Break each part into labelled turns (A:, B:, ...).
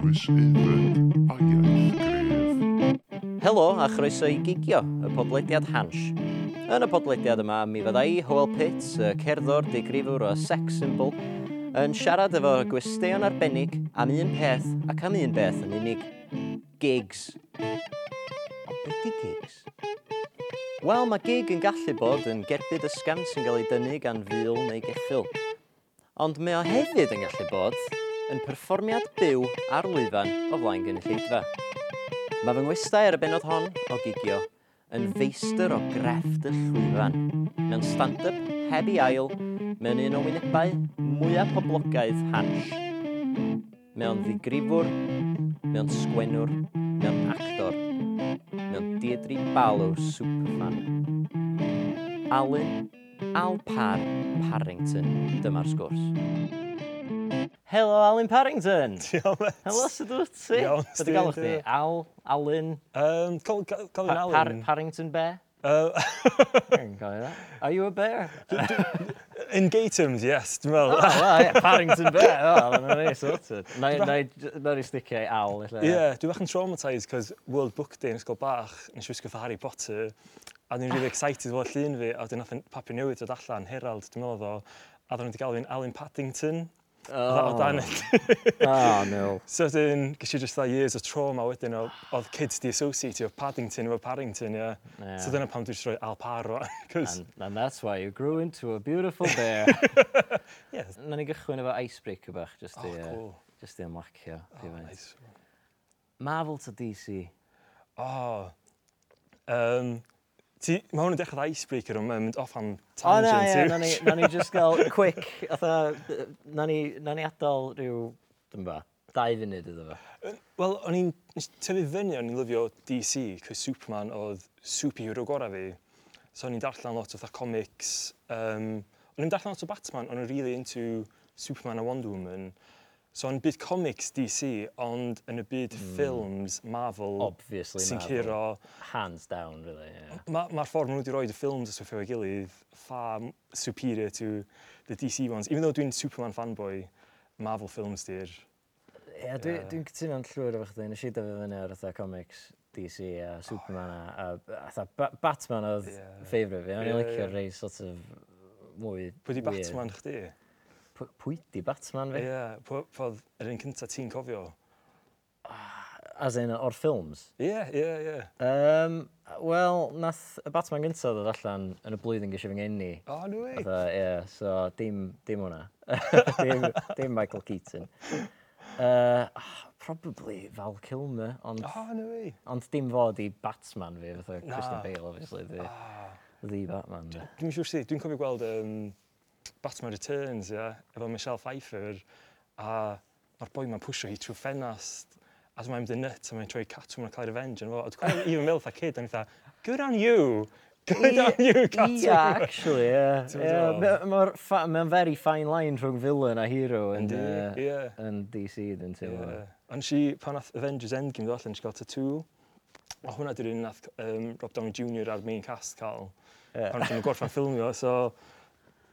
A: cynhwysydd a iaith
B: Helo a chroeso i gigio, y podlediad Hans. Yn y podlediad yma, mi fydda i, Howell Pitt, y cerddor digrifwr o sex symbol, yn siarad efo gwesteion arbennig am un peth ac am un beth yn unig. Gigs. Ond beth di gigs? Wel, mae gig yn gallu bod yn gerbyd ysgam sy'n cael ei dynnu gan fil neu geffil. Ond mae o hefyd yn gallu bod yn perfformiad byw ar lwyfan o flaen gynulleidfa. Mae fy ngwestau ar y benod hon o gigio yn feistr o grefft y llwyfan. Mewn stand-up heb i ail, mewn un o wynebau mwyaf poblogaidd hans. Mewn ddigrifwr, mewn sgwennwr, mewn actor, mewn diedri balw superfan. Alun Alpar Parrington, dyma'r sgwrs. Helo, Alun Parrington! Helo,
C: Diolch.
B: sut wyt ti?
C: Iawn,
B: Be dy galw
C: sdi,
B: chdi?
C: ie.
B: Al, Alun,
C: Um, Colin, Col- Colin
B: Pa- Par
C: Allen.
B: Parrington Bear?
C: Uh,
B: Are you a bear?
C: in gay terms, yes. Dwi'n meddwl.
B: oh, well, yeah, Parrington Bear. Oh, well, na ni sorted. Na, na, na ni sticio i al. ella.
C: Ie, yeah, dwi bach yn traumatised, cos World Book Day yn ysgol bach, nes i wisgo fy Harry Potter, a dwi'n
B: Ah.
C: really excited fod llun fi, a wedyn nath yn papur newid dod allan, Herald, dwi'n meddwl ddo, a ddyn nhw wedi galw fi'n Alan Paddington, oh. o dan
B: Oh, no.
C: So dyn, gysi just that years of trauma wedyn, o- oedd kids di associate o Paddington efo Paddington, ie.
B: Ie.
C: Yeah. So dyna pam dwi'n troi Alpar o, cos,
B: And, and that's why you grew into a beautiful bear.
C: ie,
B: na ni gychwyn efo icebreaker bach, just i,
C: Oh,
B: uh,
C: cool. Oh,
B: just i ymlacio. fi faint.
C: nice.
B: Marvel to DC.
C: O. Um, ti, mae hwn yn dechrau fatha icebreaker ond mae'n mynd off am
B: O, Oh, na,
C: tangent.
B: ie,
C: yw.
B: na ni, na ni just gael quick, atha, yy, na ni, na ni adael rhyw, dyn ba, dau funud iddo fo.
C: Wel, o'n i'n nes i tyfu fyny, o'n i'n lyfio DC, cos Superman oedd superhero gorau fi. So o'n i'n darllen lot o fatha comics. Um, o'n i'n darllen lot o Batman, o'n i'n really into Superman a Wonder Woman. So o'n byd comics DC, ond yn y byd ffilms Marvel
B: Hmm. Obviously
C: sy'n
B: Marvel.
C: curo
B: Hands down, really, yeah.
C: Mae'r ma ffordd maen nhw wedi rhoi y ffilms a stwff efo'i gilydd far m- superior to the DC ones. Even though dwi'n Superman fanboy, Marvel films di'r...
B: Ie, dwi- dwi'n dwi cytuno'n llwyr efo chdi. Nes i dyfu fyny ar ytho comics DC a Superman a, a, a ba Batman oedd
C: Ie.
B: yeah. ffeifrif fi. O'n i'n
C: Ie,
B: licio
C: ie.
B: rei sort of mwy...
C: Pwy di
B: weird.
C: Batman chdi? Ie,
B: Pw- Pwy di Batman fi?
C: yeah, oedd yr un cyntaf ti'n cofio.
B: As in, o'r ffilms.
C: Ie, ie, ie.
B: Um, Wel, nath y Batman gyntaf ddod allan yn y blwyddyn gysi fy ngeni.
C: O, no way.
B: Fatha, ie, so dim, dim hwnna. dim, dim Michael Keaton. Uh, probably Val Kilmer, ond...
C: O, no way.
B: Ond dim fod i Batman fi, fatha
C: Oh. Na.
B: Christian
C: ah.
B: Bale, obviously, the, the Batman. De.
C: Dwi'n siŵr sydd, dwi'n cofio gweld um, Batman Returns, ie, yeah, efo Michelle Pfeiffer, a mae'r boi ma'n pwysio hi trwy ffenast, a mae'n mynd yn nut, a mae'n troi Catwoman a cael ei revenge, yn fo. A dwi'n cofio even meddwl, fatha kid, a ni'n fatha, good on you! Good on you, Catwoman!
B: Ie, actually, ie.
C: Ti'n
B: Ie,
C: meddwl?
B: ma- ma'r fa- Mae'n very fine line rhwng villain a hero uh, yn,
C: Yndi,
B: yy,
C: ie.
B: yn DC, dyn ti.
C: Ie. Ond si, pan nath Avengers Endgame ddod allan, si gael tattoo. A hwnna dwi'n un nath um, Rob Downey Jr. a'r main cast cael.
B: Ie.
C: Yeah. Pan nhw'n gorffa'n ffilmio, so...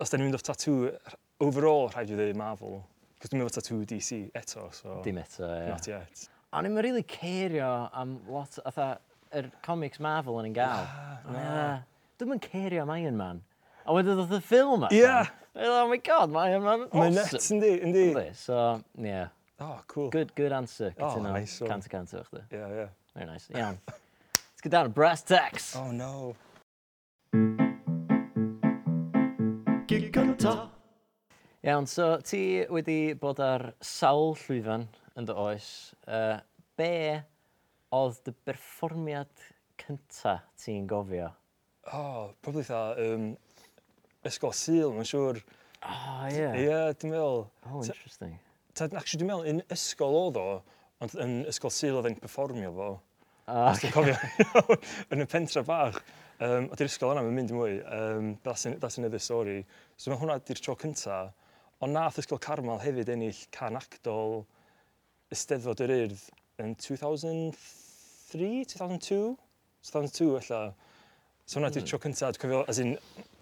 C: Os da ni'n mynd off tattoo, r- overall rhaid i ddweud Marvel. Cos dwi'n mynd off tattoo DC eto, so...
B: Dim eto, ie.
C: Not yet.
B: O'n i'n really cerio am lot, atha, yr comics Marvel yn yn
C: Ah,
B: gael. Ie. Dwi'm yn cerio am Iron Man. A wedyn ddodd y ffilm allan.
C: Ie.
B: Oh my god, mae Iron Man
C: Mae'n net,
B: awesome.
C: yndi, yndi.
B: Yndi, So, yeah.
C: Oh, cool.
B: Good, good answer.
C: Oh,
B: Cytuno.
C: nice one.
B: Cant y cant o chdi.
C: Ie, ie.
B: Very nice. Iawn. Let's get down to brass tacks.
C: Oh, no.
B: Iawn, so ti wedi bod ar sawl llwyfan yn dy oes. Uh, be oedd dy berfformiad cynta ti'n gofio?
C: Oh, probably tha, um, Ysgol Sil, mae'n siŵr.
B: Oh,
C: Ah, Ie,
B: ie.
C: yeah, dwi'n meddwl.
B: Oh, interesting.
C: Tad, actually, dwi'n meddwl, yn ysgol oedd o, ond yn ysgol syl oedd e'n performio fo.
B: Oh,
C: Dwi'n cofio, yn y pentra bach. Um, a di'r ysgol yna, mae'n mynd i mwy. Um, that's, an, that's another story. So mae hwnna di'r tro cynta. Ond nath ysgol Carmel hefyd ennill can actol Ysteddfod yr Urdd yn 2003, 2002? 2002, ella. So hwnna di'r tro cynta, dwi'n cofio, as in,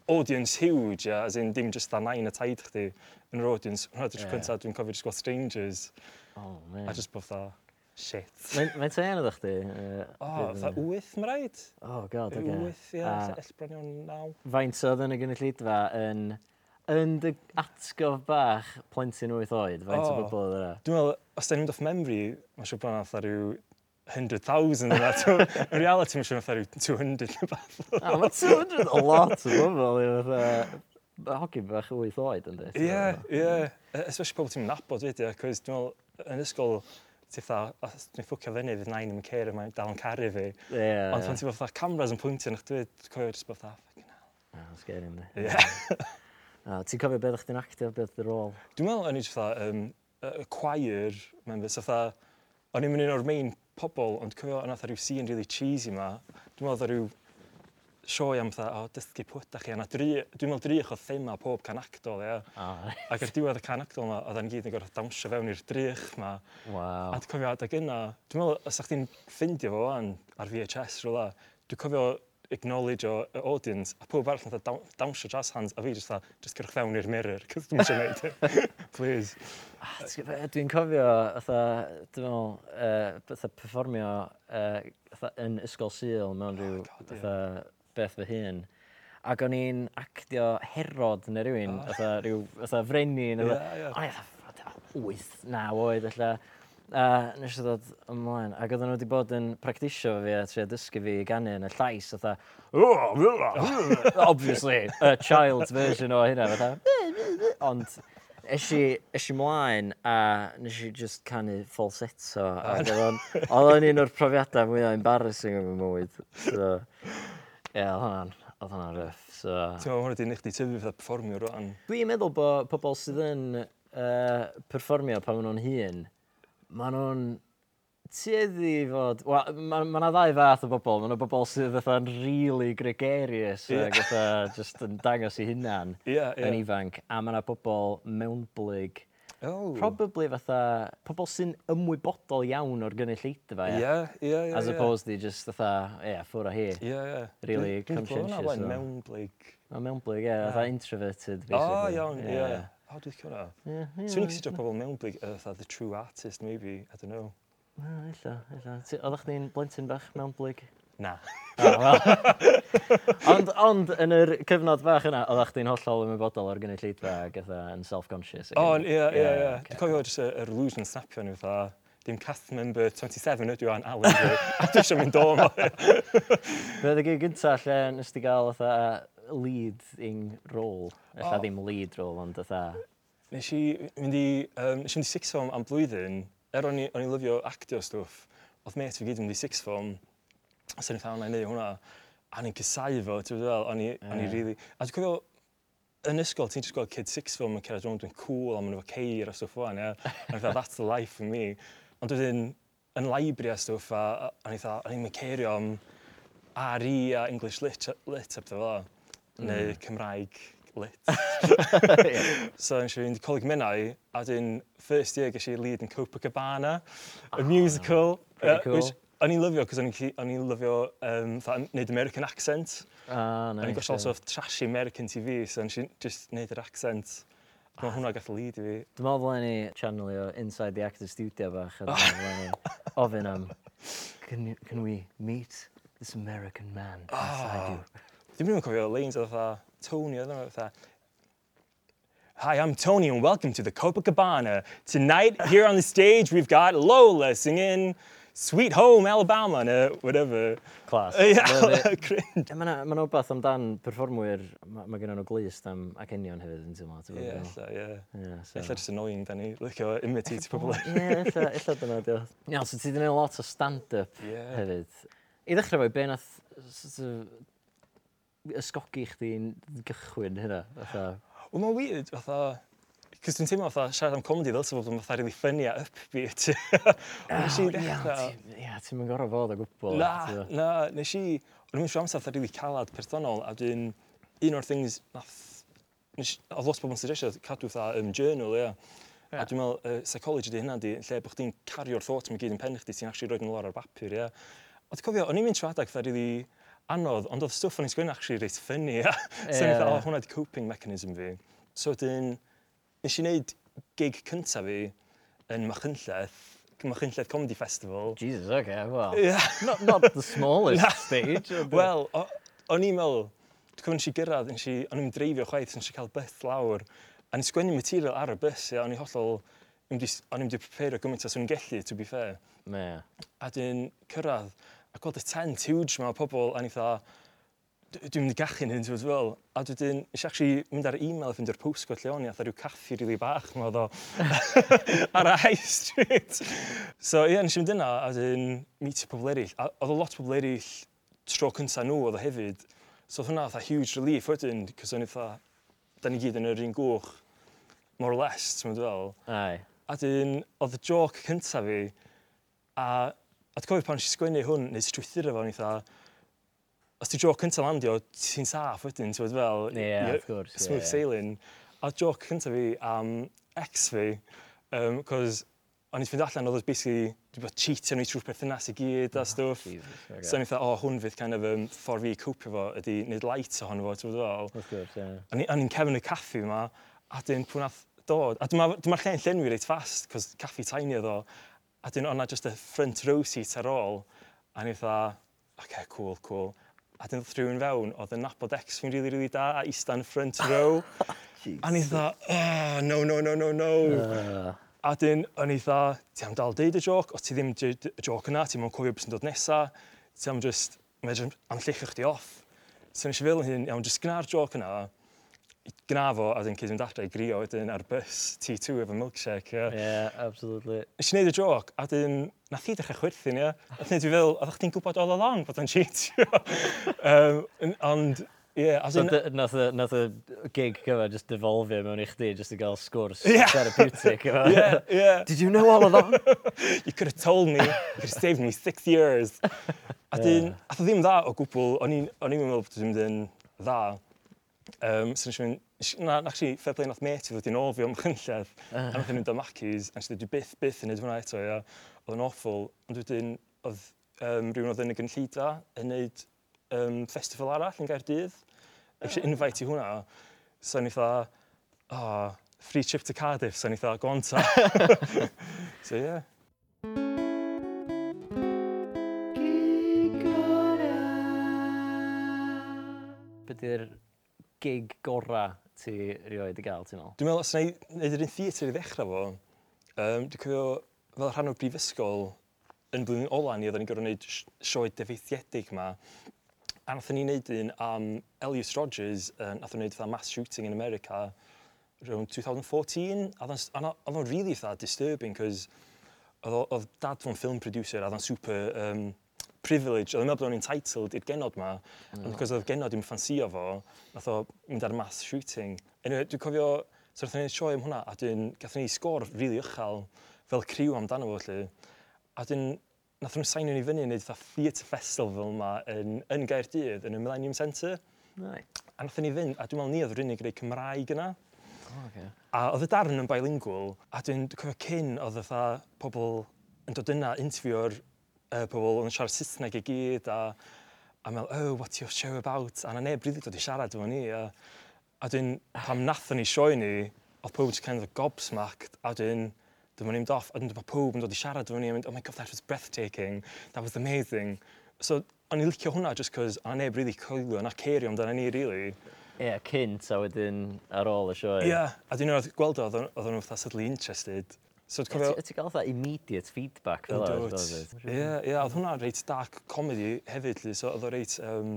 C: audience huge, yeah, as in, dim just that nain a taid chdi yn yr audience. Hwnna di'r tro
B: Ie.
C: cynta, dwi'n cofio just gweld strangers.
B: oh man.
C: A just bod tha, Shit.
B: Mae'n teimlo ydych chi?
C: O, oh, fa wyth mae rhaid.
B: Oh, god, oce.
C: Wyth, ia,
B: A-
C: ell bron iawn naw.
B: Faint oedd yn y gynulleidfa yn, yn dy atgof bach plentyn 8 oed? Faint o
C: O.
B: bobl oedd yna?
C: Dwi'n meddwl, os da ni'n mynd off memory, mae'n siŵr bron atho rhyw 100,000 yna. T'mo', Yn reality, mae'n siŵr atho rhyw 200 neu beth.
B: A mae 200 a lot o bobl i fatha... Ma' hoci bach 8 oed yn dweud.
C: Ie, ie. E- Especially pobl ti'n nabod, wedi, cos dwi'n meddwl, yn ysgol, ti fatha, os dwi'n ffwcio fyny, fydd nain ddim yn ceir, mae'n dal yn caru fi.
B: Ie.
C: Ond pan ti'n fatha cameras yn pwyntio, nach dwi'n cofio jyst bod fatha, "Ah, "Fucking hell."
B: Mae'n sgeri yna.
C: Ie.
B: Ti'n cofio beth o'ch chi'n actio, beth dy rôl?
C: Dwi'n meddwl o'n i jyst fatha, um, y choir, mae'n fes, fatha, o'n i'n mynd un o'r main pobl, ond cofio o'n fatha rhyw scene really cheesy ma. Dwi'n meddwl oedd 'na rhyw sioe am fatha, o, dysgu pwyta chi, a 'na dri, dwi'n meddwl drych o thema pob can actol, ia. Ac ar diwedd y can actol ma, oedden ni gyd yn gorfod dawnsio fewn i'r drych ma.
B: Waw.
C: A dwi'n cofio adeg yna, dwi'n meddwl, os ydych chi'n ffindio fo fan ar VHS rhywle, dwi'n cofio acknowledge o y audience, a pob arall yn fatha dawn- dawnsio jazz hands, a fi jyst dda, just gyrwch fewn i'r mirror, cos dwi'n eisiau gwneud it. Please.
B: A ti'n gwbod, Dwi'n cofio, fatha, dwi'n meddwl, yy, fatha performio yy, fatha yn ysgol Sul mewn rhyw
C: Oh God, ie.
B: fatha beth fy hun. Ac o'n i'n actio herod neu rywun, fatha rhyw, fatha frenin.
C: Oh. Ie,
B: O'n
C: ie.
B: i fatha 8, 9 oed alla. A nes i ddod ymlaen, ac oedden nhw wedi bod yn practisio fo fi a trio dysgu fi i ganu yn y llais, fatha,
C: Oh.
B: obviously, a child's version o hynna, fatha, ond eisi, eisi mlaen a nes i just canu falsetto ac oedd o'n- oedd o'n un o'r profiadau mwyaf embarrassing yn fy mywyd. So, ie, yeah, oedd hwnna'n, oedd hwnna'n rough. So.
C: Ti'n meddwl, hwnna di nech di tyfu fatha performio rwan.
B: Dwi'n meddwl bod pobl sydd yn uh, perfformio pan maen nhw'n hun, maen nhw'n tueddu i fod... Wel, mae ma 'na ddau fath o bobl. Mae yna bobl sydd fatha'n really gregarious
C: Ie.
B: yeah. ac fatha just yn dangos eu hunan
C: Ie, ie.
B: yn ifanc. A mae yna bobl mewnblyg,
C: Oh.
B: probably fatha pobl sy'n ymwybodol iawn o'r gynulleidfa.
C: Ie,
B: ie,
C: ie, ie.
B: As
C: ie.
B: opposed i just fatha, ie, yeah, ffwr o hi.
C: Ie, ie.
B: Really conscientious,
C: Dwi'n
B: though.
C: mewn bleig.
B: Mae mewnblyg, ie, yeah, fatha introverted,
C: O,
B: basically. Hmm.
C: iawn,
B: Ie.
C: ie. O, dwi'n cofio hwnna.
B: Ie, ie.
C: Swn i'n cysidro pobl mewn bleig, yy, fatha the true artist, maybe, I don't know.
B: Wel, Ella, ella. Ti- Oeddech chdi'n blentyn bach mewn blyg?
C: Na.
B: Ond, ond yn yr cyfnod bach yna, oeddech chdi'n hollol ymwybodol o'r gynulleidfa ac eitha yn self-conscious. ac
C: O,
B: yn-
C: ie, ie, ie.
B: ocê.
C: Dwi'n cofio jyst y- yr illusion snapio ni fatha, dim cast member 27 ydw i o'n Alan Dre, a dwi eisiau mynd o'n
B: Be oedd y gig gynta lle nes ti gael eitha leading role? Eitha
C: O.
B: ddim lead role, ond eitha...
C: Nes i mynd i, um, nes i mynd i six form am blwyddyn, er o'n i, o'n i lyfio actio stwff, oedd met fi gyd yn mynd i six form, a sy'n eitha o'n i'n neud hwnna, a ni'n cysau fo, ti'n fel, o'n i, o'n i
B: Ie.
C: really... A dwi'n cofio, yn ysgol, ti'n just gweld kid six form yn cerdd rownd yn cool, a maen nhw efo ceir a stwff o'n, ia. A dwi'n that's the life for me. Ond dwi'n yn laibri a stwff, a a- o'n i'n o'n i'n mynd ceirio am RE a English Lit, lit a beth fel. Mm. Neu Cymraeg Lit. So nes i fynd i Coleg Menai, a dwi'n first year ges i lead yn Copacabana, a musical.
B: Ah, pretty cool.
C: which O'n i'n lyfio, cos o'n i'n gallu- o'n i'n lyfio um, fatha neud American accent.
B: Ah,
C: O'n i'n
B: nice.
C: gwrs also trashy American TV, so nes i just neud yr accent. Ac Mae hwnna gath lead i fi.
B: Dwi'n meddwl flaen ni channelio Inside the Actors Studio bach. A dwi'n meddwl flaen ni ofyn am, can, you- can we meet this American man inside you?
C: Dwi'n mynd i'n cofio lanes oedd fatha Tony, oedd hwnna fatha, Hi, I'm Tony and welcome to the Copacabana. Tonight, here on the stage, we've got Lola singing Sweet Home Alabama, neu whatever.
B: Class. Love it.
C: Ia, cringe.
B: Mae yna ma wbeth amdan performwyr, mae ma gennyn nhw glist am acenion hefyd yn teimlo. ti'n
C: Ie,
B: gwbod
C: ella, ie.
B: be dwi'n meddwl? Ie, so-
C: Ella just annoying, da ni. Licio imitate pobl.
B: Ie, ella- ella dyna di o. Iawn, so ti wedi gwneud lot o stand-up
C: Ie.
B: hefyd. I ddechrau fo, be nath sort of, ysgogi chdi'n gychwyn hynna? Fatha,
C: Wel, mae'n weird, fatha... Cos dwi'n teimlo fatha siarad am comedy ddylse bod yn fatha really funny a upbeat. Nes i
B: "O, ia,
C: ddechrau...
B: ti- Ia, ti'n mynd gorau fod o gwbl.
C: Na,
B: ti'n gwbo."
C: na, nes i... O'n i'n mynd trwy amser fatha really calad personol, a dwi'n... Un o'r things nath... Nes, a lot o bobl yn suggestion oedd cadw fatha um, journal, ie. A dwi'n meddwl, uh, psychology di hynna di, lle bod chdi'n cario'r thoughts mae gyd yn pen chdi, ti'n actually roed yn lawr ar bapur, ie. A ti'n cofio, o'n i'n mynd trwy adag fatha really anodd, ond oedd stwff o'n i'n sgwyn actually reit ffynnu, ie. So o'n
B: Ie.
C: i'n fatha, o, hwnna di coping mechanism fi. So dyn, nes i wneud gig cyntaf fi yn Machynlleth, Machynlleth Comedy Festival.
D: Jesus, okay, well.
C: Ie.
D: Not, not the smallest stage. ond, uh,
C: Wel, o- o'n i'n meddwl, dwi'n cofio nes i gyrraedd, nes i, o'n i'n dreifio chwaith, nes i cael byth lawr, a nes i sgwennu material ar y bus, a o'n i'n hollol, o'n i'n wedi prepario gymaint o swn i'n gallu, to be fair.
D: Ie.
C: A dwi'n cyrraedd, a gweld y tent huge yma o pobl, a ni dda, dwi'n mynd i gachu hyn, ti'n fel. A dwi'n eisiau actually mynd ar e-mail a ffyndio'r postcode lle o'n i, a rhyw caffi rili bach yma oedd o ar y high street. So ie, yeah, nes i mynd yna, a dwi'n meet pobl eraill. A oedd o lot o pobl eraill tro cynta nhw oedd o hefyd. So oedd hwnna oedd huge relief wedyn, cos o'n i dda, da ni gyd yn yr un gwch, more or less, ti'n fel.
D: Aye.
C: A dyn, oedd y joc cynta fi, a, a dwi'n cofio pan nes i sgwennu hwn, neu strwythyr efo, o'n i dda, os ti joc cynta landio, ti'n saff wedyn, ti'n bod fel...
D: Ie,
C: you're
D: of course,
C: Smooth
D: ie, ie.
C: sailing. A joc cynta fi am ex fi, um, cos o'n i'n fynd allan, oedd o'n basically, dwi'n bod cheatio ni trwy'r perthynas i gyd a stwff.
D: Jesus, okay.
C: So o'n i'n dda, o, hwn fydd kind of um, ffordd fi cwpio fo, ydy wneud light ohono fo, ti'n bod fel
D: Of course, yeah.
C: a ni- a ni'n cefn y caffi yma, a dyn pwy nath dod. A dyma'r dyma dyma'r lle'n llenwi reit fast, cos caffi tiny oedd o. A dyn o'na just y front row seat ar ôl, a ni dda, okay, cool, cool. A dyn ddod rhywun fewn, oedd yn nabod ex fi'n rili, really, rili really da, a eista yn front row. a ni dda, oh, no, no, no, no, no.
D: Uh,
C: A dyn, o'n i dda, ti am dal deud y joc, o ti ddim deud y joc yna, ti mo'n cofio beth sy'n dod nesa, ti am just, medru am llichio chdi off. So nes i fel hyn, iawn, just gna'r joc yna, i- gna fo, a dyn cyd mynd adre i grio wedyn ar bus T2 efo milkshake. Yeah.
D: yeah, absolutely.
C: Nes i wneud y joc, a dyn, nath i ddechrau chwerthin, ia. A dyn, dwi fel, a chdi'n gwybod all along bod o'n cheatio. um, yn- ond, ie, yeah, a
D: So
C: dyn,
D: dy- nath y, nath y gig cyfa just devolfio mewn i chdi, just i gael sgwrs
C: Ie.
D: therapeutic. efo.
C: yeah, yeah.
D: Did you know all of that?
C: you could have told me, you could have saved me six years. A dyn, yeah. a ddim dda o gwbl, o'n i'n o'n i'm yn meddwl bod dwi'n mynd yn dda. Um, so nes i mynd, nes i- na, actually, fair play nath mate i ddod i'n ôl fi o'm chynlledd, a nath i'n mynd o Macis, a nes i dwi byth, byth yn neud hwnna eto, ia. Oedd yn awful, ond wedyn, oedd um, rhywun oedd yn y gynllida yn neud um, festival arall yn Gaerdydd. Actually, invite i hwnna. So o'n i dda, oh, free trip to Cardiff, so o'n i dda, go on ta. so, yeah.
D: Bydy'r gig gora ti rioed i gael, ti'n ôl?
C: Dwi'n meddwl, os wna i wneud yr un theatr i ddechrau fo, um, dwi'n cofio fel rhan o'r brifysgol yn blwyddyn ola ni, oedden ni'n gorfod wneud sh- sioe defeithiedig yma. A nath ni wneud un am Elliot Rodgers, uh, nath o'n wneud fatha mass shooting in America rhwng 2014. A oedd o'n- oedd o'n really fatha disturbing, cos oedd o- oedd dad fo'n film producer a oedd o'n super um, privilege. Oedd yn meddwl bod o'n entitled i'r genod ma. Mm. Ond cos oedd genod i'n ffansio fo, nath o mynd ar mass shooting. Anyway, dwi'n cofio, so wnaethon ni'n sioi am hwnna, a dwi'n gathon ni sgôr rili really uchel fel criw amdano fo, lle. A dwi'n, nath nhw'n sain ni fyny i wneud fatha theatre festival yma yn, yn Gaerdydd, yn y Millennium Centre.
D: Nai.
C: A nath ni fynd, a dwi'n meddwl ni oedd yr unig greu Cymraeg yna.
D: Oh, okay.
C: A oedd y darn yn bilingual, a dwi'n dwi'n cofio cyn oedd fatha pobl yn dod yna, interview'r uh, pobl yn siarad Saesneg i gyd, a, a meddwl, oh, what's your show about? A na neb rili dod i siarad efo ni. A, a dwi'n, pam nathon ni sioi ni, oedd pob just kind of gobsmacked, a dwi'n, dwi'n mynd off, a dwi'n dwi'n pob yn dod i siarad efo ni, a mynd, oh my god, that was breathtaking, that was amazing. So, o'n i licio hwnna just cos a na neb rili coelio, na cerio amdana ni, really.
D: Ie, yeah, cynt a wedyn ar ôl y sioe.
C: Ie, yeah, a dwi'n oedd gweld o, oedd o'n fatha suddenly interested. So dwi'n cofio...
D: Ie, ti- Ti'n cael fatha immediate feedback fel
C: Yndwt.
D: oes, does it?
C: Ie, ie, oedd hwnna reit dark comedy hefyd, lli, so oedd o reit... Um,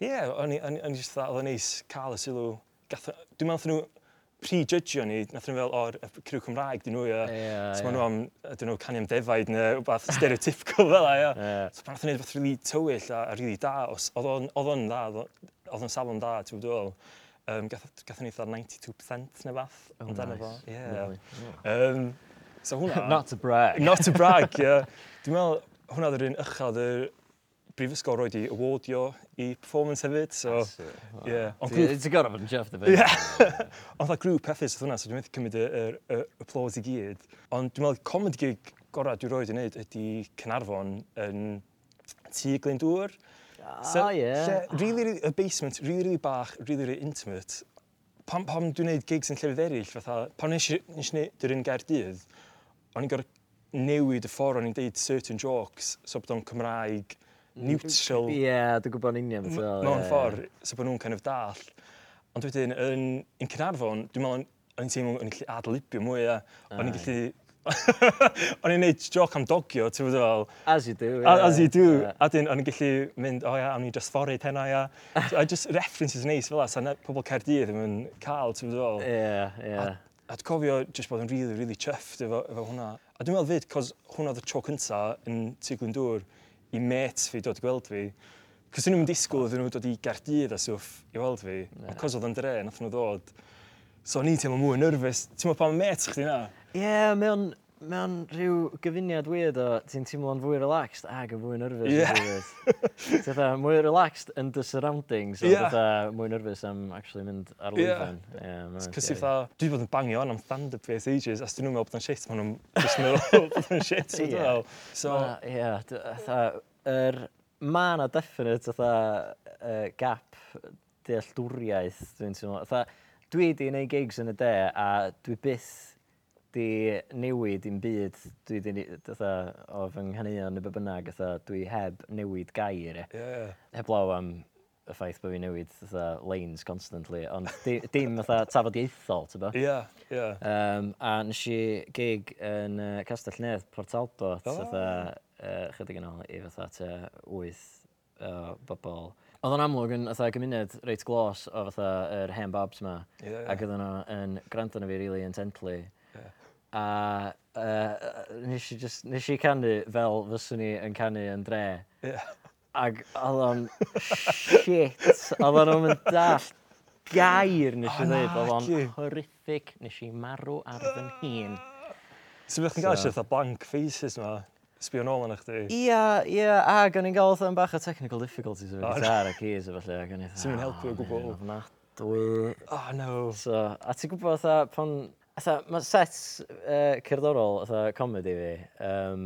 C: ie, yeah, o'n i- o'n i- o'n i just dda, oedd o'n neis cael y sylw. Gath- Dwi'n meddwl nathon nhw pre-judgio ni, nath nhw fel, o'r criw Cymraeg, dyn nhw, ie.
D: Ie,
C: So ma'
D: ie.
C: nhw am, dyn nhw canu am defaid neu rhywbeth stereotypical fel e, ie.
D: Ie.
C: So pan nath nhw neud rhywbeth rili tywyll a, a rili da, os- oedd o'n- oedd o'n dda, oedd o- oedd o'n safon da, ti'n gwybod? Um, gath, gath ni eitha 92% neu fath.
D: Oh,
C: amdano
D: nice.
C: fo. Ie.
D: Lovely.
C: Um, so hwnna...
D: Not to brag.
C: Not to brag, ie. Dwi'n meddwl, hwnna oedd yr un uchel, yr brifysgol roed i awardio i performance hefyd, so... Ie. Ond grŵp-
D: Ti'n gorau fod yn chuffed y bit.
C: Ond fatha grŵp hefyd oedd hwnna, so dwi'n meddwl cymryd y, y, y, y applause i gyd. Ond dwi'n meddwl comedy gig gorau dwi'n roed i wneud ydy Cynarfon yn tŷ Glyndŵr.
D: Ah, ie.
C: lle Rili, rili, y basement, rili, rili bach, rili, rili intimate. Pam, pam dwi'n gwneud gigs yn llefydd eraill, fatha, pam nes i, nes i wneud yr un Gaerdydd, o'n i'n gorau newid y ffordd o'n i'n deud certain jokes, so bod o'n Cymraeg
D: Mm-hmm.
C: neutral
B: Ie, dwi'n gwybod yn union. so,
C: M- mewn
B: ie.
C: ffordd, so bod nhw'n kind of dall. Ond wedyn, yn, yn Cynarfon, dwi'n meddwl, o'n i'n teimlo, o'n i'n gallu adlibio mwy, a o'n i'n gallu... o'n i'n neud joc am dogio, ti'n fod fel,
B: As you do.
C: a-
B: ie.
C: as you do.
B: Ie.
C: A dyn, o'n i'n gallu mynd, o ia, o'n i'n just forid hena, ia. So, I just references neis fel as, a na- pobl Caerdydd ddim yn cael, ti'n fod fel.
B: Ie, ie.
C: A dwi'n cofio just bod yn really, really chuffed efo, efo hwnna. A dwi'n meddwl fyd, cos hwnna oedd y tro cynta yn Tiglyn Dŵr i mates fi dod i gweld fi. Cos dyn nhw'n disgwyl iddyn nhw dod i Gardydd a swff i weld fi. Yeah. A cos oedd yn dre, nath nhw ddod. So o'n i'n teimlo mwy nerfus. Ti'n meddwl pan mates chdi na?
B: Ie, mewn mewn rhyw gyfuniad weird o ti'n teimlo'n fwy relaxed ag yn fwy nervous.
C: Ie.
B: Ti'n fatha, mwy relaxed yn dy surroundings,
C: Ie.
B: yeah. fatha, mwy nervous am actually mynd ar
C: Ie.
B: lwyfan. Ie, ma'n
C: Cos
B: scary.
C: i fatha, dwi 'di bod yn bangio on am stand-up fi as ages, as dyn nhw'n meddwl bod yn shit, maen nhw'n just meddwl bod yn shit. ti'n
B: Ie.
C: gwbod? So,
B: Ma- Ie, d- fatha, yr... Ma na definite, fatha, uh, gap dealltwriaeth, dwi'n teimlo. Fatha, dwi di wneud gigs yn y de, a dwi byth di newid i'n byd, dwi di, ne- fatha, o fy nghaneuon neu be bynnag, fatha, dwi heb newid gair, e.
C: ie.
B: Heblaw am y ffaith bod fi'n newid, fatha, lanes constantly, ond di- dim, fatha, tafodieithol, ti'n bo?
C: Ie, ie.
B: Um, a nes i gig yn uh, Castell Nedd, Port Talbot,
C: O.
B: oh. fatha, uh, chydig yn ôl i fatha te wyth o bobl. Oedd o'n amlwg yn fatha gymuned reit glos o fatha yr hen bobs ma,
C: Ie, ie.
B: ac oedden nhw yn gwrando na fi really intently. A uh, nes, i just, nes i canu fel fyswn i yn canu yn dre.
C: Ie.
B: Ac oedd o'n shit, oedd o'n mynd dall gair nes
C: O,
B: i ddweud, oedd
C: naci.
B: o'n horrific, nes i marw ar fy nhîn.
C: So, byddwch chi'n cael
B: So-
C: eisiau blank faces ma, sbio nôl yn eich di.
B: Ia, ia, ac o'n i'n gael oedd bach o technical difficulties efo
C: O, na.
B: gitar a keys a falle, ac o'n i'n
C: Sdim yn helpu o gwbl."
B: Na, dwi...
C: Oh no.
B: So, a ti'n gwybod oedd pan... Oedd mae sets uh, cerddorol, oedd comedy fi, um,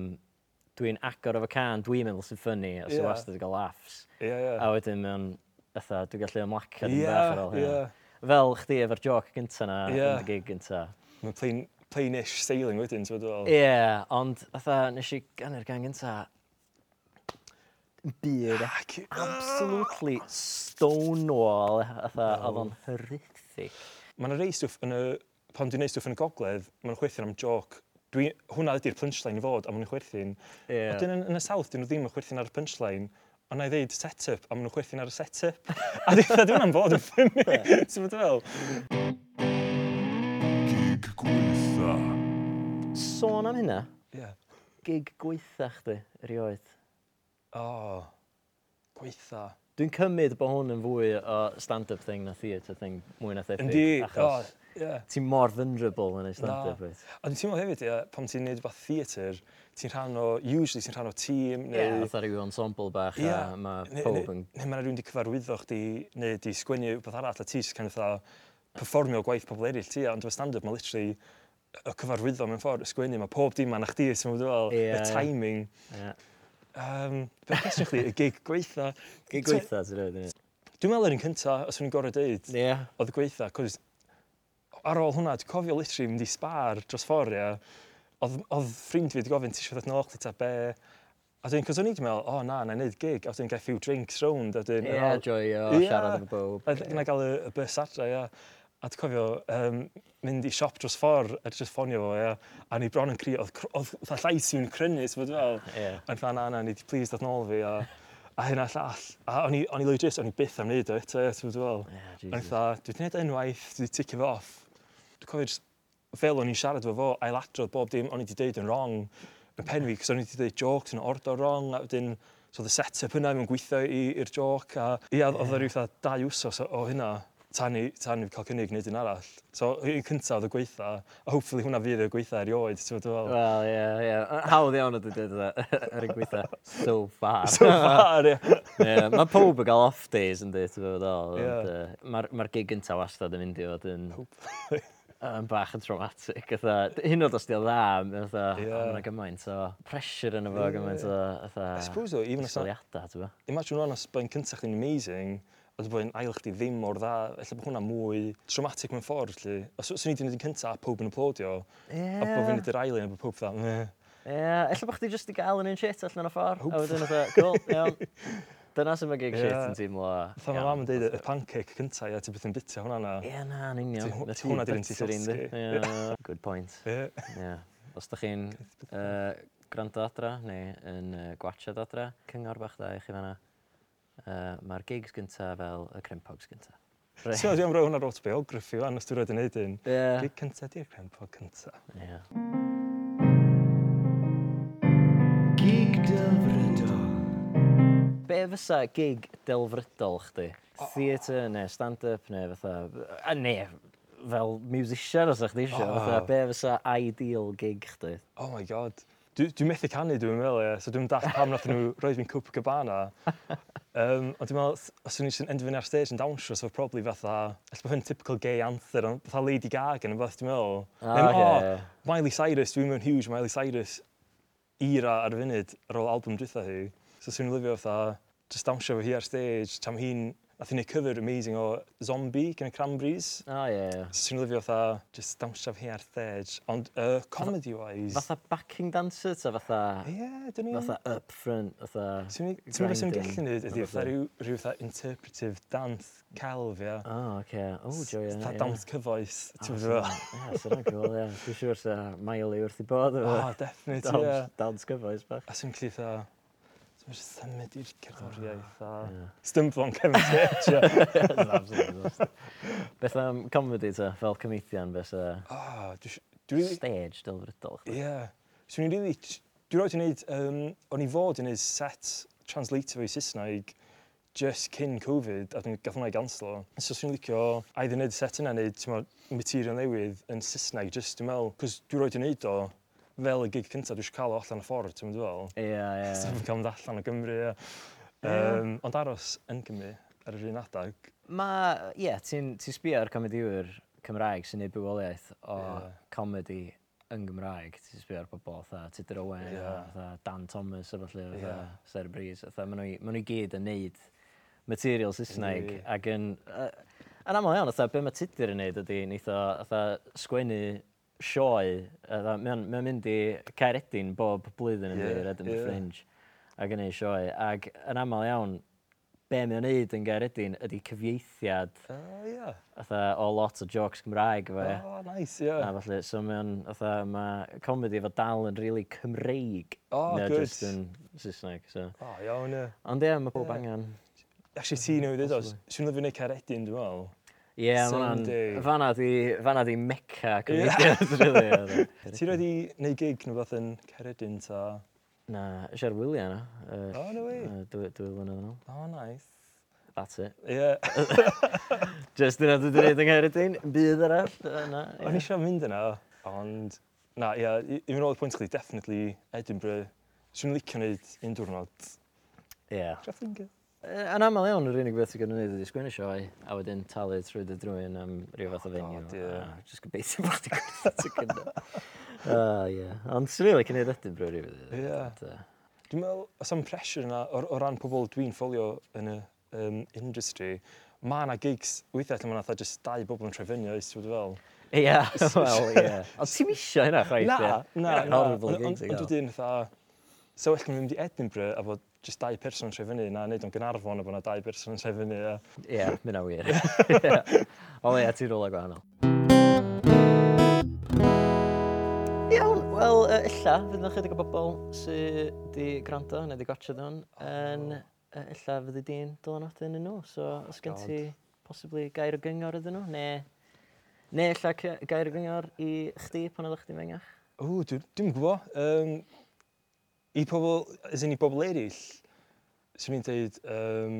B: dwi'n agor efo can, dwi'n meddwl sy'n ffynnu, os
C: Ie.
B: yeah. wastad yn cael laughs.
C: Ie, ie.
B: A wedyn mewn, ytha, dwi'n gallu ymlaca
C: Ie,
B: ddim bach ar ôl hynna.
C: ie.
B: Fel chdi efo'r joc gynta na,
C: Ie.
B: yn dy gig gynta.
C: Mae plain, plainish sailing wedyn, ti'n fawr
B: Ie, yeah, ond ytha, nes i ganu'r gan gynta, byd
C: Ac-
B: absolutely stonewall, ytha, oedd o'n horrific.
C: Mae yna rei stwff yn y... Pan dwi'n neud stwff yn y gogledd, mae'n chwerthin am joc. Dwi, hwnna ydy'r punchline i fod, a mae'n chwerthin.
B: Ie.
C: Ond yn, yn y south, dyn nhw ddim yn chwerthin ar y punchline, ond na i ddeud set-up, a maen nhw'n chwerthin ar y set-up. a dwi'n dweud hwnna'n fod yn ffynnu. Ti'n fawr fel?
A: Gig gwaetha.
B: Sôn am hynna,
C: Ie.
B: gig gweitha chdi, erioed.
C: O. Gweitha.
B: Dwi'n cymryd bod hwn yn fwy o stand-up thing na theatre thing, mwy na theatre.
C: Yndi. O,
B: Achos
C: ie.
B: ti'n mor vulnerable yn ei stand-up,
C: Na.
B: wyt.
C: A dwi'n teimlo hefyd, ie, pam ti'n neud rhywbeth theatr, ti'n rhan o, usually ti'n rhan o tîm, neu...
B: Fatha rhyw ensemble bach
C: Ie.
B: a mae
C: Neu-
B: pob
C: neu-
B: yn...
C: Neu mae rhywun wedi cyfarwyddo chdi, neu wedi sgwennu rhywbeth arall, a ti jyst kind of fatha performio gwaith pobl eraill ti, ond efo stand-up mae literally y cyfarwyddo mewn ffordd, y sgwennu, mae pob dim anna chdi, sy'n fawr fel,
B: Ie,
C: y
B: ie.
C: timing.
B: Ie.
C: Um, Be'n cwestiwn chdi, y gig gweitha.
B: Gig gweitha, ti'n rhaid i ni.
C: Dwi'n meddwl yr un cynta, os o'n i'n gorau deud,
B: Ie.
C: oedd y gweitha, cos ar ôl hwnna, dwi'n cofio literally mynd i sbar dros ffordd, ia. Oedd, oedd ffrind fi wedi gofyn, ti eisiau ddod nôl chdi ta be? A dwi'n, cos o'n i wedi meddwl, o oh, na, na i neud gig, a dwi'n gael few drinks round, a dwi'n...
B: Ie, joio,
C: Ie.
B: siarad efo bob.
C: A dyna gael y, y bus adra, ia. A dwi'n cofio um, mynd i siop dros ffordd a jyst ffonio fo, ia. A ni bron yn cri, oedd cr- oedd fatha llais i'n crynu, sef wedi fel.
B: Ie.
C: A dwi'n na, na, ni di please dod nôl fi, a, a hynna llall. A o'n i, o'n i legit, o'n i byth am wneud o eto, ia, sef wedi fel.
B: Ie,
C: A
B: Jesus.
C: dwi'n dda, dwi wedi gwneud unwaith, dwi wedi ticio fe off. Dwi'n cofio jyst fel o'n i'n siarad efo fo, ailadrodd bob dim o'n i wedi deud yn wrong yn pen fi, cos o'n i wedi deud jokes yn ordo wrong, a wedyn, so the set-up hynna mewn gweithio i- i'r joc, a ia, oedd o ryw fatha dau wsos o- o hynna, tan i, tan i fi cael cynnig wneud un arall. So, un cyntaf oedd y gweitha, a hopefully hwnna fydd y gweitha erioed, ti'n fawr fel.
B: Wel, ie, ie. Hawdd iawn ydy dweud yna, yr un gweitha. So far.
C: So far, ia.
B: Ie, Mae pob yn cael off days yn dweud, ti'n fawr
C: Ie.
B: ddol. Mae'r gig gynta wastad yn mynd i fod yn... yn bach yn traumatic. Ytha, hyn oed os di o dda, ytha,
C: Ie.
B: yeah. mae'n gymaint o pressure yn efo, gymaint o,
C: I
B: ytha,
C: suppose, though, even os na-
B: syliadau, ti'n fawr.
C: Imagine hwnna os byddai'n cyntaf chdi'n amazing, a dwi'n bod ail chdi ddim mor dda, efallai bod hwnna mwy traumatic mewn ffordd, lli. Os swn i wedi gwneud yn cyntaf, pob yn applaudio,
B: Ie.
C: a bod fi'n gwneud yr ail un, a bod pob dda, meh.
B: Ie, ella bod chdi jyst i gael yn un shit allan o ffordd. A wedyn oedd cool, iawn. Dyna sy'n mynd gig shit
C: Ie.
B: yn teimlo.
C: Fatha mae
B: iawn.
C: mam yn deud y pancake cynta, ia, ti beth yn bitio hwnna na.
B: Ie, na, yn union.
C: Ti-
B: Na
C: ti hwnna 'di'r un ti'n
B: butter un, di.
C: llosgi.
B: Ie, Good point.
C: Ie.
B: Ie. Os ydych chi'n uh, gwrando adra neu yn uh, gwachod adra, cyngor bach da i chi fanna. Uh, Mae'r gigs gyntaf fel y crimpogs gyntaf.
C: Ti'n meddwl, dwi'n rhoi hwnna'r autobiography o'n os dwi'n rhaid yn neud un.
B: Ie.
C: Gig cynta, di'r crempog cynta.
B: Ie.
E: Gig Delfrydol.
B: Be fysa gig delfrydol chdi? Theatr neu stand-up neu fatha... A ne, fel musician os ydych chi eisiau.
C: O.
B: Fatha, be fysa ideal gig chdi?
C: Oh my god. Dwi, dwi methu canu, dwi'n meddwl, ie. So dwi'n dall pam nath nhw roed fi'n cwp cabana. Um, ond dwi'n meddwl, s- os o'n i'n endfyn ar stage yn dawnsio, so probably fatha, allai bod hyn typical gay anthem, ond fatha Lady Gaga, yn fath, dwi'n meddwl.
B: Ah,
C: Neu,
B: ie, ie.
C: Miley Cyrus, dwi'n mewn huge Miley Cyrus era ar y funud ar ôl album dwytha hi. So swn i'n lyfio fatha, just dawnsio fo hi ar stage, tam hi'n, nath hi'n neud cover amazing o Zombie gan y Cranberries.
B: O, ie, ie.
C: So swn i'n lyfio fatha, just dawnsio fo hi ar stage. Ond uh, comedy-wise...
B: Fatha backing dancer, ta fatha...
C: Ie, dyn ni.
B: Fatha up front, fatha...
C: Ti'n meddwl sy'n
B: grinding,
C: gallu neud ydy,
B: fatha.
C: fatha rhyw, rhyw fatha interpretive dance celf, ia.
B: O, oce. O, joy, Oh, ie.
C: Fatha
B: ie.
C: dawns cyfoes, ti'n meddwl fel.
B: Ie, sy'n rhaid cool, ie. Dwi'n siŵr sa Miley wrth i bod
C: O,
B: efo.
C: definite, Ah, ie.
B: Dawns- Dawns gyfoes bach.
C: A sy'n gallu fatha, ti'n meddwl symud i'r cerddoriaeth a stymblo yn Kevin Church, ia.
B: It's absolute disaster. Beth am comedy ta, fel comedian, beth sa
C: O, dwi'n rili,
B: stage delfrydol. chdi?
C: ie. Swn i'n rili, dwi'n rhaid i wneud, um, o'n i fod i wneud set translator o'i Saesneg just cyn Covid, a dwi'n gath hwnna i ganslo. So swn i'n licio either wneud y set yna neu ti'n meddwl materion newydd yn Saesneg, just dwi'n meddwl, cos dwi'n roed i wneud o fel y gig cyntaf, dwi'n cael o allan y ffordd, ti'n meddwl?
B: Ie, ie.
C: So dwi'n cael mynd allan o Gymru, ie.
B: Ie.
C: Um, ond aros yn Gymru ar yr un adag.
B: Ma, ie, yeah, ti'n ti sbio ar comediwyr Cymraeg sy'n neud bywoliaeth o yeah.
C: Ie.
B: comedi yn Gymraeg. Ti'n sbio ar bobl, tha, Tudur Owen,
C: Ie.
B: yeah. tha, Dan Thomas, a falle, tha,
C: Ie.
B: yeah. Sarah Breeze. Tha, maen nhw i- maen nhw i gyd yn neud material Saesneg
C: Ie.
B: ac yn... Uh, yn aml iawn, tha, be mae Tudur yn neud ydy, neith o tha, sgwennu sioe. Mae'n mynd i Caeredin bob blwyddyn yn
C: Ie,
B: yeah. Red yn
C: ie.
B: yeah. Fringe ac yn ei sioe. Ac yn aml iawn, be mae'n neud yn Gaeredin ydy cyfieithiad
C: O, ie.
B: fatha, o lot o jokes Gymraeg efo e.
C: O, nice, ie.
B: A felly, so mae'n, fatha, mae comedy efo dal yn really Cymreig.
C: O,
B: na
C: good.
B: jyst yn Saesneg, so.
C: O, iawn, ie.
B: Ond ie, mae pob angen.
C: Actually, ti newid edo, swn i'n lyfio neud Caredin, dwi'n meddwl.
B: Ie, ma'
C: Someday.
B: hwnna'n, fanna di, fanna di meca comedians, really. oedd e.
C: Ti roed i neud gig nhw fath yn Caredin, ta?
B: Na, eisiau'r wyliau na.
C: O, no way.
B: Dwy dwy flynedd yn ôl.
C: O, nice.
B: That's it.
C: Ie.
B: Just dyna dwi'n dweud yng Nghaeredin, bydd arall. yy, Na, ie.
C: O'n eisiau mynd yna, ond... Na, ie, i i fynd ôl y pwynt chdi, definitely Edinburgh. Swn i'n licio wneud un diwrnod.
B: Ie.
C: Traffinger.
B: Yy, Yn aml iawn, yr unig beth sy'n gynnu wneud ydy sgwini sioe, a wedyn talu trwy dy drwy'n am rhyw fath o fenyw.
C: God, ie.
B: Just gobeithio bod ti'n gwneud ti'n gynnu. Ah, ie. Ond sy'n rili cynnig edrych brwy rhyw
C: Ie.
B: fath.
C: Dwi'n meddwl, os am pressure yna, o, o ran pobl dwi'n ffolio yn y um, industry, mae yna gigs weithiau lle mae yna just dau bobl yn trefynio, oes, ti'n fel?
B: Ie, wel, ie. Ond ti'n misio hynna, chwaith,
C: Na,
B: ie?
C: na,
B: Hynna'n
C: na.
B: Horrible
C: Ond-
B: gig ti'n
C: Ond ond
B: gael.
C: dwi'n dda, so well, mynd i Edinburgh a fod just dau person yn trefynu, na, neud o'n Gynarfon a bod yna dau person yn trefynu. Ie,
B: Ie, mynd a wir. Ie. O ie, ti'n rola gwahanol. Iawn, wel, yy, illa, fydd yna chydig o bobl sydd wedi gwrando neu wedi gwachod hwn, yn yy, illa fydd y dyn dylanwadu yn nhw. So, os gen
C: God.
B: ti posibly gair o gyngor ydyn nhw, neu... Neu illa cy- gair o gyngor i chdi pan oeddech chdi'n fengach.
C: O, dwi- dwi'n gwybod. Um, I pobl, as in i bobl eraill, swn i'n dweud, um,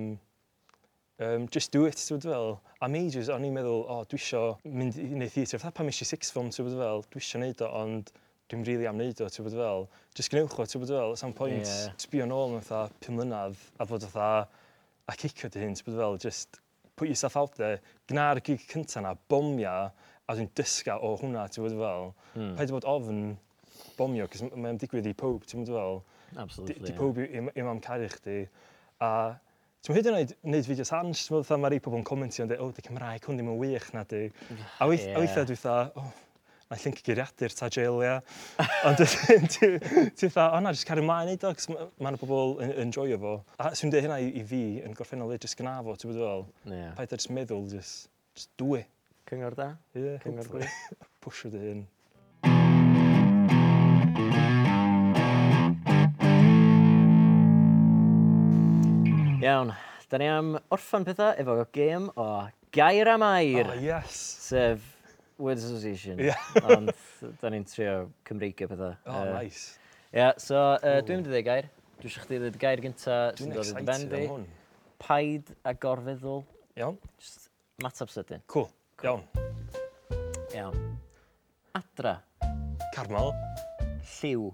C: um, just do it, ti'n bod fel. Am ages, o'n i'n meddwl, o, oh, dwi isio mynd i wneud theatr. Fatha pam eisiau six form, ti'n bod fel, dwi isio wneud o, ond dwi'n rili really am wneud o, ti'n bod fel. Just gwnewch o, ti'n bod fel, at some point,
B: Ie.
C: yeah. sbio nôl yn fatha pum mlynedd, a fod fatha, a cicio dy hyn, ti'n bod fel, just put yourself out there, gna'r gig cynta na, bomia, a dwi'n dysgu o hwnna, ti'n bod fel. Mm. Paid bod ofn bomio, cos m- mae'n digwydd i pob, ti'n bod fel. Di,
B: Absolutely.
C: di pob i- i'm i'm am caru chdi. A ti'n hyd yn oed wneud fideos hans, ti'n meddwl, mae rei pobl yn comentio yn dweud, o, dy Cymraeg, hwn ddim yn wych na di. A weith- a
B: Ie.
C: weithiau dwi dda, o, Mae'n llun gyguriadur ta jailia. Ond ti'n dda, o na, jyst cario ma'n neud o, cos mae'n bobl yn yn enjoyo fo. A swn i'n dweud hynna i, i fi yn gorffennol dweud, jyst gyna fo, ti'n bod fel,
B: Ie.
C: paid jyst meddwl, jyst, jyst do it.
B: Cyngor da?
C: Ie,
B: Cyngor
C: hopefully. Pwysio dy hyn.
B: Iawn, da ni am orffan pethau efo gêm o Gair am Air,
C: Oh, yes!
B: sef Words Association.
C: Ie.
B: Ond da ni'n trio Cymreigio pethau.
C: Oh,
B: Yy,
C: nice.
B: Ie, so uh, dwi'n mynd i ddweud gair. Dwi eisiau chdi ddweud gair gynta sy'n
C: Dwi'n
B: dod i'n
C: excited
B: fendi.
C: am hwn.
B: Paid a gorfeddwl.
C: Iawn,
B: Just matab sydyn.
C: cool. Iawn.
B: Iawn. Adra.
C: Carmel,
B: Lliw.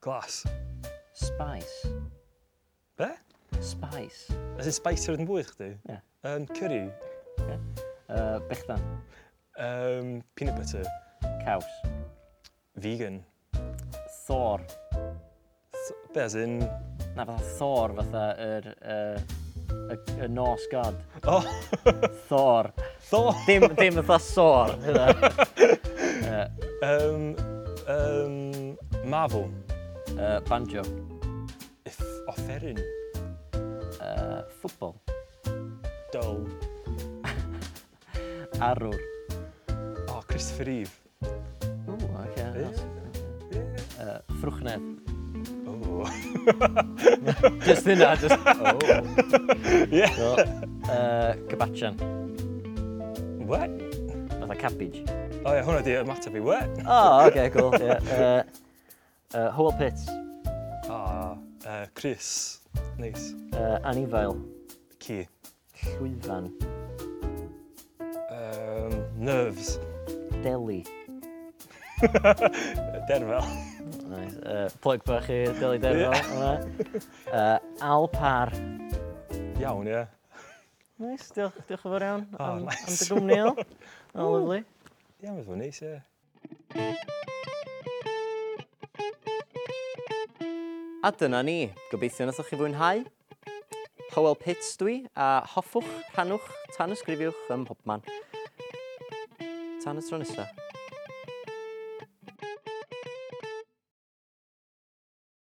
C: glas.
B: Spice.
C: Be?
B: Spice.
C: Ys yn spicer yn bwy chdi?
B: Ie.
C: Um, curry,
B: Uh, Bechdan.
C: um, peanut butter,
B: Caws.
C: vegan.
B: Thor.
C: S- Be as in...
B: Na, fatha Thor, fatha yr... Uh, y, y Norse god.
C: Oh,
B: Thor.
C: Thor!
B: Dim, dim fatha sor. hynna.
C: Um, um, Marvel,
B: uh, banjo.
C: if offeryn,
B: Uh, ffwbol.
C: dull.
B: Arwr.
C: Oh, Christopher Reeve.
B: Ww, oce. nice. Uh, ffrwchnedd.
C: Oh.
B: Just hynna, just... Oh. Yeah. So, uh, gabachan,
C: What?
B: fatha cabbage.
C: Oh, yeah, hwnna di ymateb i, what?
B: Oh, okay, cool. Yeah. Uh, uh, Howell Pitts,
C: Ah, uh, Chris. Nice.
B: uh, Anifail,
C: Key.
B: Llwyfan,
C: Um, nerves.
B: Deli.
C: Derfel.
B: Nice. Uh, plug bach i Deli Derfel. Yeah. Uh, Alpar.
C: Iawn, ie. Yeah.
B: Nice, diolch, diolch yn fawr iawn
C: Oh,
B: am, am dy
C: nice.
B: gwmni Al. Oh, lovely.
C: Iawn, yeah, mae'n neis, ie. Yeah.
D: A dyna ni. Gobeithio nathoch chi fwynhau. Howell Pitts dwi, a hoffwch, rhannwch, tan ysgrifiwch ym mhobman. Tan y tro nesaf.